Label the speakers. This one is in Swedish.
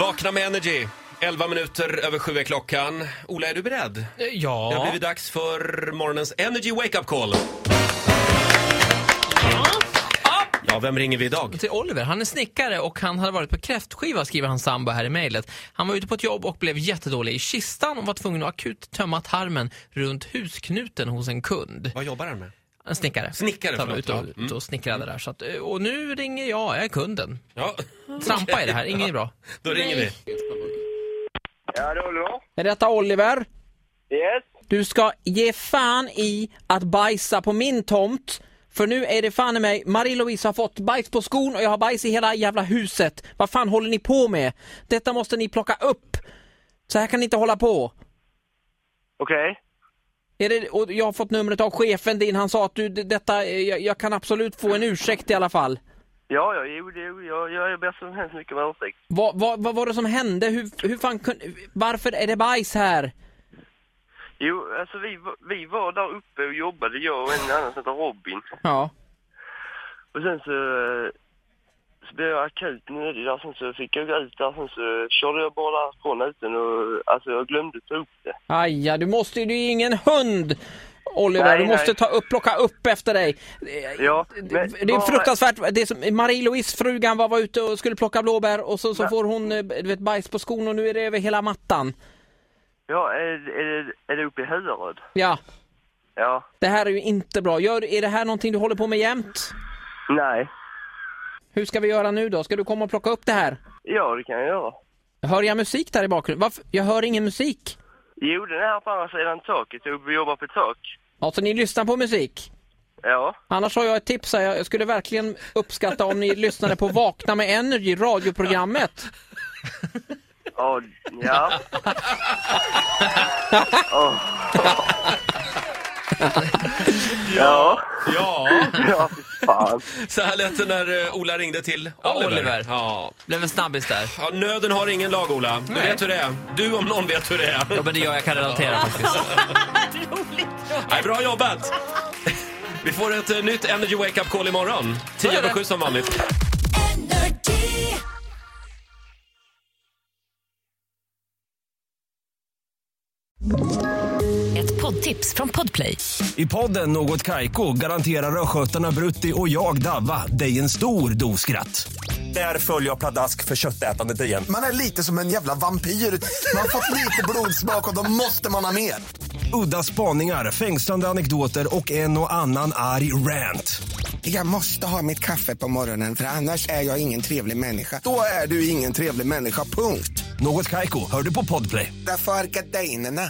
Speaker 1: Vakna med Energy. 11 minuter över sju är klockan. Ola, är du beredd? Det har
Speaker 2: Ja.
Speaker 1: blivit dags för morgonens Energy Wake Up Call. Ja, vem ringer vi idag?
Speaker 2: Till Oliver, han är snickare och han hade varit på kräftskiva skriver hans sambo här i mejlet. Han var ute på ett jobb och blev jättedålig i kistan och var tvungen att akut tömma tarmen runt husknuten hos en kund.
Speaker 1: Vad jobbar han med?
Speaker 2: En snickare.
Speaker 1: Snickare,
Speaker 2: Han var
Speaker 1: förlåt,
Speaker 2: ute och,
Speaker 1: ja. Mm.
Speaker 2: ute och snickrade där. Så att, eh, och nu ringer jag, jag är kunden.
Speaker 1: Ja,
Speaker 2: Trampa i det här, inget är bra.
Speaker 1: då ringer vi.
Speaker 3: Ja, det Oliver.
Speaker 4: Är detta Oliver?
Speaker 3: Yes.
Speaker 4: Du ska ge fan i att bajsa på min tomt. För nu är det fan i mig, Marie-Louise har fått bajs på skon och jag har bajs i hela jävla huset. Vad fan håller ni på med? Detta måste ni plocka upp. Så här kan ni inte hålla på.
Speaker 3: Okej.
Speaker 4: Är det, och jag har fått numret av chefen din, han sa att du, d- detta, eh, jag, jag kan absolut få en ursäkt i alla fall.
Speaker 3: Ja, ja, jo, jo, jag, jag ber så hemskt mycket om ursäkt.
Speaker 4: Vad, vad, vad var det som hände? Hur, hur fan kunde, varför är det bajs här?
Speaker 3: Jo, alltså vi, var- vi var där uppe och jobbade, jag och en annan som heter Robin.
Speaker 4: Ja.
Speaker 3: Och sen så, eh, så blev jag akut nödig där, sen så fick jag gå ut där, sen så körde jag bara därifrån utan och, alltså jag glömde ta upp det.
Speaker 4: Aja, du måste ju, du är ingen hund! Oliver,
Speaker 3: Nej,
Speaker 4: du måste
Speaker 3: nej.
Speaker 4: ta upp, plocka upp efter dig. Eh,
Speaker 3: Ja,
Speaker 4: Det,
Speaker 3: men
Speaker 4: det är
Speaker 3: vad-
Speaker 4: fruktansvärt. Det är som Marie-Louise, frugan, var, var ute och skulle plocka blåbär och så, så får hon eh, du vet, bajs på skon och nu är det över hela mattan.
Speaker 3: Ja, är, är, det, är det uppe i Hudaröd?
Speaker 4: Ja,
Speaker 3: Ja.
Speaker 4: det här är ju inte bra. Gör, är det här någonting du håller på med jämt?
Speaker 3: Nej.
Speaker 4: Hur ska vi göra nu då? Ska du komma och plocka upp det här?
Speaker 3: Ja, det kan jag göra.
Speaker 4: Hör jag musik där i bakgrunden? Varför? Jag hör ingen musik.
Speaker 3: Jo, den är här på andra sidan taket, uppe och jobbar på ett tak.
Speaker 4: Alltså, ni lyssnar på musik?
Speaker 3: Ja.
Speaker 4: Annars har jag ett tips här. Jag skulle verkligen uppskatta om ni lyssnade på Vakna med Energy, radioprogrammet.
Speaker 3: Ja. Ja. ja.
Speaker 1: Ja,
Speaker 3: Ja, fy fan.
Speaker 1: så här lät det när eh, Ola ringde till
Speaker 2: Ja,
Speaker 1: Oliver.
Speaker 2: Oliver.
Speaker 1: Ja.
Speaker 2: Blev en snabbis där.
Speaker 1: ja, nöden har ingen lag, Ola. Du
Speaker 2: Nej.
Speaker 1: vet hur det är. Du om någon vet hur det är.
Speaker 2: Ja men det är jag, jag kan relatera faktiskt.
Speaker 1: Nej, bra jobbat! Vi får ett eh, nytt Energy Wake Up Call imorgon. 10 över 7 som vanligt.
Speaker 5: Energy.
Speaker 6: Ett poddtips från Podplay.
Speaker 7: I podden Något Kaiko garanterar östgötarna Brutti och jag, Davva, dig en stor dos skratt. Där följer jag pladask för köttätandet igen.
Speaker 8: Man är lite som en jävla vampyr. Man har fått lite blodsmak och då måste man ha mer.
Speaker 7: Udda spaningar, fängslande anekdoter och en och annan arg rant.
Speaker 8: Jag måste ha mitt kaffe på morgonen för annars är jag ingen trevlig människa. Då är du ingen trevlig människa, punkt.
Speaker 7: Något Kaiko, hör du på Podplay.
Speaker 8: Därför arkadeinerna.